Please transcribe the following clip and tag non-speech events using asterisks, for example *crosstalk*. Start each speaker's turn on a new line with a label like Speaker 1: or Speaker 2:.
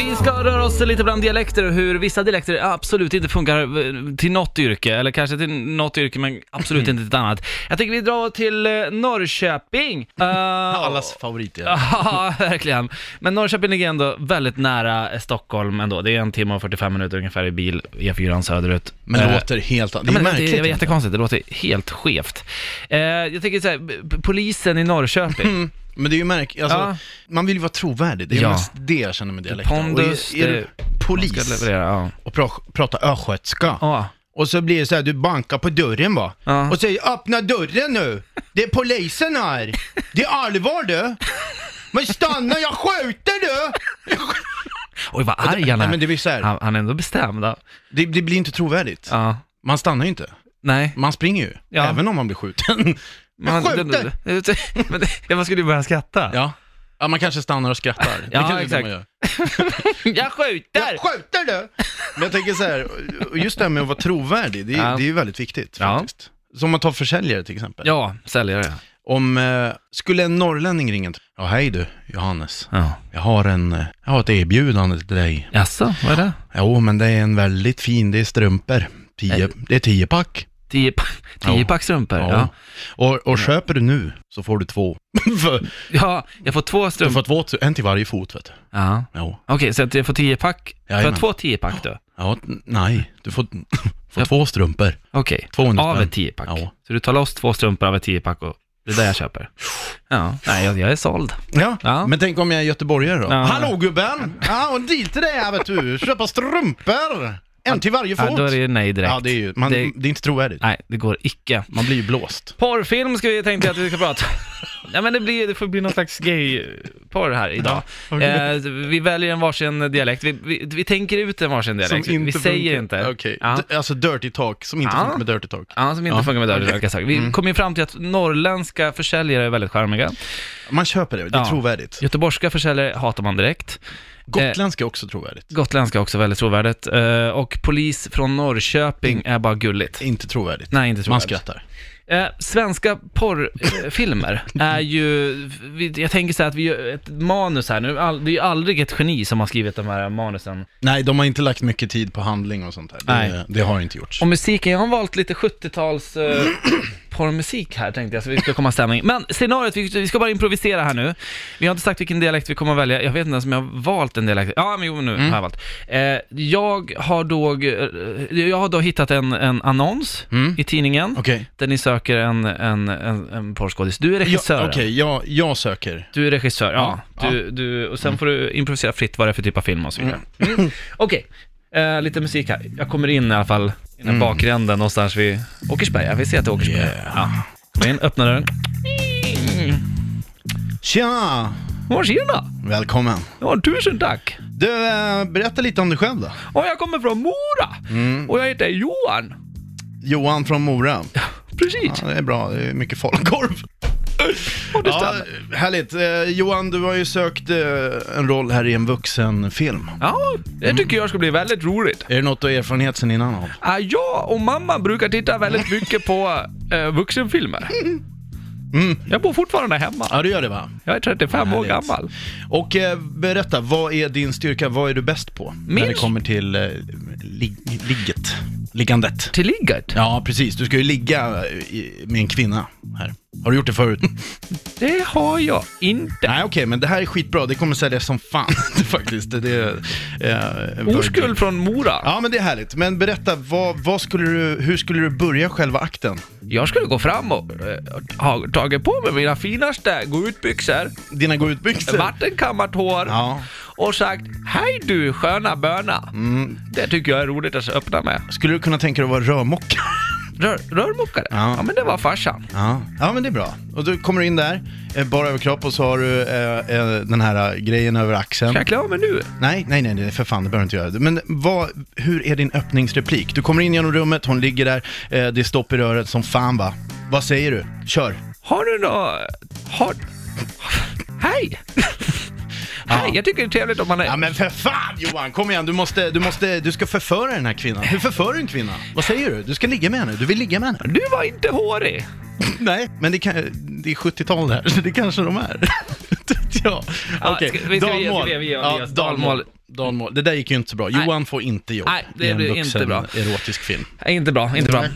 Speaker 1: Vi ska röra oss lite bland dialekter och hur vissa dialekter absolut inte funkar eh, till något yrke, eller kanske till något yrke men absolut inte till ett annat. Jag tänker vi drar till eh, Norrköping.
Speaker 2: *laughs*
Speaker 1: Eh,
Speaker 2: Allas favorit ja.
Speaker 1: Ja, verkligen. Men Norrköping ligger ändå väldigt nära eh, Stockholm ändå. Det är en timme och 45 minuter ungefär i bil, E4 söderut.
Speaker 2: Men det
Speaker 1: Eh,
Speaker 2: låter helt an- Det är
Speaker 1: men
Speaker 2: märkligt.
Speaker 1: det är jättekonstigt, det låter helt skevt. Eh, jag tänker så här, p- polisen i Norrköping,
Speaker 2: Mm, men det är ju märkligt. Alltså,
Speaker 1: Ja.
Speaker 2: Man vill ju vara trovärdig. Det är
Speaker 1: Ja.
Speaker 2: mest det jag känner med dialekten.
Speaker 1: pondus,
Speaker 2: och är, är
Speaker 1: det-
Speaker 2: du
Speaker 1: man ska
Speaker 2: polis
Speaker 1: leverera, ja.
Speaker 2: och pra- prata östgötska.
Speaker 1: Ja.
Speaker 2: Och så blir det så här, du bankar på dörren va?
Speaker 1: Ja.
Speaker 2: Och säger öppna dörren nu! Det är polisen här! Det är allvar du! Men stanna, jag skjuter du!
Speaker 1: Oj vad arg han
Speaker 2: Nej,
Speaker 1: är.
Speaker 2: men det blir så här,
Speaker 1: Han, han är ändå bestämd. ja.
Speaker 2: det, det blir inte trovärdigt.
Speaker 1: Ja.
Speaker 2: Man stannar ju inte.
Speaker 1: Nej.
Speaker 2: Man springer ju.
Speaker 1: Ja.
Speaker 2: Även om man blir skjuten. *laughs*
Speaker 1: Man,
Speaker 2: skjuter!
Speaker 1: men det- ja, man skulle ju börja skratta.
Speaker 2: Ja. ja, man kanske stannar och skrattar. Det
Speaker 1: Ja,
Speaker 2: kanske
Speaker 1: exakt.
Speaker 2: man gör.
Speaker 1: Jag skjuter!
Speaker 2: Jag skjuter du! *laughs* Men jag tänker så här, och just det här med att vara trovärdig, det är,
Speaker 1: Ja.
Speaker 2: det är ju väldigt viktigt
Speaker 1: Ja.
Speaker 2: faktiskt. Som man tar försäljare till exempel.
Speaker 1: Ja, säljare.
Speaker 2: Om, eh, skulle en norrlänning ringa till- Ja, hej du, Johannes.
Speaker 1: Ja.
Speaker 2: Jag har en, eh, jag har ett erbjudande till dig.
Speaker 1: Jaså, vad är det?
Speaker 2: Jo, men det är en väldigt fin, det är strumpor. Tio,
Speaker 1: Nej.
Speaker 2: det är tio pack.
Speaker 1: Tio, pa- tio
Speaker 2: Ja.
Speaker 1: pack strumpor? Ja.
Speaker 2: Och, och köper du nu så får du två. *laughs* För,
Speaker 1: ja, jag får två
Speaker 2: du
Speaker 1: strumpor.
Speaker 2: får två, en till varje fot vet du.
Speaker 1: Ja.
Speaker 2: Jo.
Speaker 1: Okej, så att jag får tio pack? Får jag
Speaker 2: Jajamän.
Speaker 1: två tio pack då?
Speaker 2: Ja, t- nej, du får, *laughs* får
Speaker 1: Ja.
Speaker 2: två strumpor.
Speaker 1: Okej.
Speaker 2: 200
Speaker 1: Av
Speaker 2: spänn.
Speaker 1: ett tio pack?
Speaker 2: Ja.
Speaker 1: Så du tar loss två strumpor av ett tio pack och det är det jag köper? Ja. Nej, jag, jag är såld.
Speaker 2: Ja,
Speaker 1: Ja.
Speaker 2: men tänk om jag är göteborgare då?
Speaker 1: Ja.
Speaker 2: Hallå gubben! Ja, och dit till dig här vet du, köpa strumpor! En till varje fot!
Speaker 1: Ja, då är det ju nej direkt.
Speaker 2: ja, det är ju, man,
Speaker 1: Det-
Speaker 2: det... är inte trovärdigt.
Speaker 1: Nej, det går icke.
Speaker 2: Man blir ju blåst.
Speaker 1: Porrfilm ska vi tänkte jag att vi ska prata Nej men det, blir, det får bli någon slags gay-porr här idag.
Speaker 2: Ja, okej.
Speaker 1: eh, vi väljer en varsin dialekt, vi, vi, vi tänker ut en varsin dialekt, vi säger inte.
Speaker 2: Okej,
Speaker 1: Ja.
Speaker 2: D- alltså dirty talk, som inte
Speaker 1: Ja.
Speaker 2: funkar med dirty talk.
Speaker 1: Ja, som inte
Speaker 2: Ja,
Speaker 1: funkar med dörren,
Speaker 2: okej.
Speaker 1: okay.
Speaker 2: Mm.
Speaker 1: Vi kom ju fram till att norrländska försäljare är väldigt charmiga.
Speaker 2: Man köper det, det är
Speaker 1: Ja.
Speaker 2: trovärdigt.
Speaker 1: Göteborgska försäljare hatar man direkt.
Speaker 2: Gotländska är också trovärdigt.
Speaker 1: Gotländska är också väldigt trovärdigt. Eh, och polis från Norrköping är bara gulligt.
Speaker 2: Inte trovärdigt.
Speaker 1: Nej, inte
Speaker 2: Mm. Man
Speaker 1: trovärdigt.
Speaker 2: skrattar.
Speaker 1: Eh, svenska porrfilmer är ju, vi, jag tänker så här att vi gör ett manus här nu, all, det är ju aldrig ett geni som har skrivit de här manusen.
Speaker 2: Nej, de har inte lagt mycket tid på handling och sånt här.
Speaker 1: Nej.
Speaker 2: Det, det har inte gjorts.
Speaker 1: Och musiken, jag har valt lite 70-tals eh, porrmusik här tänkte jag, så vi ska komma i stämning. Men scenariot, vi, vi ska bara improvisera här nu. Vi har inte sagt vilken dialekt vi kommer att välja, jag vet inte ens om jag har valt en dialekt. Ja, men jo, nu
Speaker 2: Mm.
Speaker 1: har jag valt. Eh, jag har då, eh, jag har då hittat en, en annons
Speaker 2: Mm.
Speaker 1: i tidningen,
Speaker 2: Okej,
Speaker 1: där ni söker en, en, en, en porrskådis. Du är regissör.
Speaker 2: jag, okej, jag, jag söker.
Speaker 1: Du är regissör, ja.
Speaker 2: Ja.
Speaker 1: Du, du, och sen får du improvisera fritt vad det är för typ av film och så vidare. Mm. Okej, eh, lite musik här. Jag kommer in i alla fall, i den här bakgränden någonstans vid Åkersberga. Vi ser att det är Åkersberga.
Speaker 2: Yeah.
Speaker 1: Ja. Kom in, öppna dörren.
Speaker 2: Tja!
Speaker 1: Åh, tjena!
Speaker 2: Välkommen.
Speaker 1: Ja, tusen tack!
Speaker 2: Du, eh, berätta lite om dig själv då.
Speaker 1: Och jag kommer från Mora! Och jag heter Johan.
Speaker 2: Johan från Mora.
Speaker 1: Precis.
Speaker 2: Ja, det är bra, det är mycket *laughs* falukorv.
Speaker 1: Ja, det
Speaker 2: Ja,
Speaker 1: stämmer.
Speaker 2: härligt. Eh, Johan, du har ju sökt eh, en roll här i en vuxenfilm.
Speaker 1: Ja, det tycker jag ska bli väldigt roligt. Ah,
Speaker 2: Är det något du har erfarenhet sen innan av?
Speaker 1: Ja, jag och mamma brukar titta *laughs* väldigt mycket på eh, vuxenfilmer. Jag bor fortfarande hemma.
Speaker 2: Ja, du gör det va?
Speaker 1: Jag är 35 år
Speaker 2: Härligt.
Speaker 1: gammal.
Speaker 2: Och eh, berätta, vad är din styrka? Vad är du bäst på?
Speaker 1: Min-
Speaker 2: När det kommer till eh, lig ligget. Liggandet.
Speaker 1: Till ligget?
Speaker 2: Ja, precis. Du ska ju ligga eh, i, med en kvinna här. Har du gjort det förut?
Speaker 1: Det har jag inte.
Speaker 2: Nej, okej, men *laughs* det här är skitbra. Det kommer säljas som fan *laughs* faktiskt. Det är, eh, en
Speaker 1: Oskuld från Mora.
Speaker 2: Ja men det är härligt, men berätta, vad, vad skulle du, hur skulle du börja själva akten?
Speaker 1: Jag skulle gå fram och eh, ha tagit på mig mina finaste gå-ut-byxor,
Speaker 2: Dina gå-ut-byxor?
Speaker 1: vattenkammat hår
Speaker 2: Ja.
Speaker 1: och sagt Hej du sköna böna. Det tycker jag är roligt att öppna med.
Speaker 2: Skulle du kunna tänka dig att vara rörmokare?
Speaker 1: Rör, rörmokare?
Speaker 2: Ja.
Speaker 1: Ja. men det var farsan.
Speaker 2: Ja. ja men det är bra. Och då kommer du in där, eh, bara överkropp och så har du eh, eh, den här eh, grejen över axeln.
Speaker 1: Ska jag klä av mig nu?
Speaker 2: Nej, nej, nej, nej, för fan, det behöver du inte göra. Men vad, hur är din öppningsreplik? Du kommer in genom rummet, hon ligger där, eh, det är stopp i röret som fan va? Vad säger du? Kör!
Speaker 1: Har du nå... Har... *laughs* Hej! Hej, jag tycker det är trevligt om man är...
Speaker 2: Ja men för fan Johan, kom igen, du måste, du måste, du ska förföra den här kvinnan. Hur förför du en kvinna? Vad säger du? Du ska ligga med henne, du vill ligga med
Speaker 1: *clears throat*
Speaker 2: henne.
Speaker 1: Du var inte hårig.
Speaker 2: Nej, men det, kan, det är 70-tal det här, så det kanske de är. *laughs* ja,
Speaker 1: Ja,
Speaker 2: okej.
Speaker 1: ska- vi- ska vi- ska vi- vi- vi- vi- vi-
Speaker 2: Ja,
Speaker 1: dalmål.
Speaker 2: dalmål. Dan Måhl. Det där gick ju inte så bra. Johan får inte jobb
Speaker 1: Nej, det
Speaker 2: i en
Speaker 1: blir
Speaker 2: vuxen
Speaker 1: inte bra.
Speaker 2: erotisk film.
Speaker 1: Nej, Inte bra, inte bra.
Speaker 2: Nej.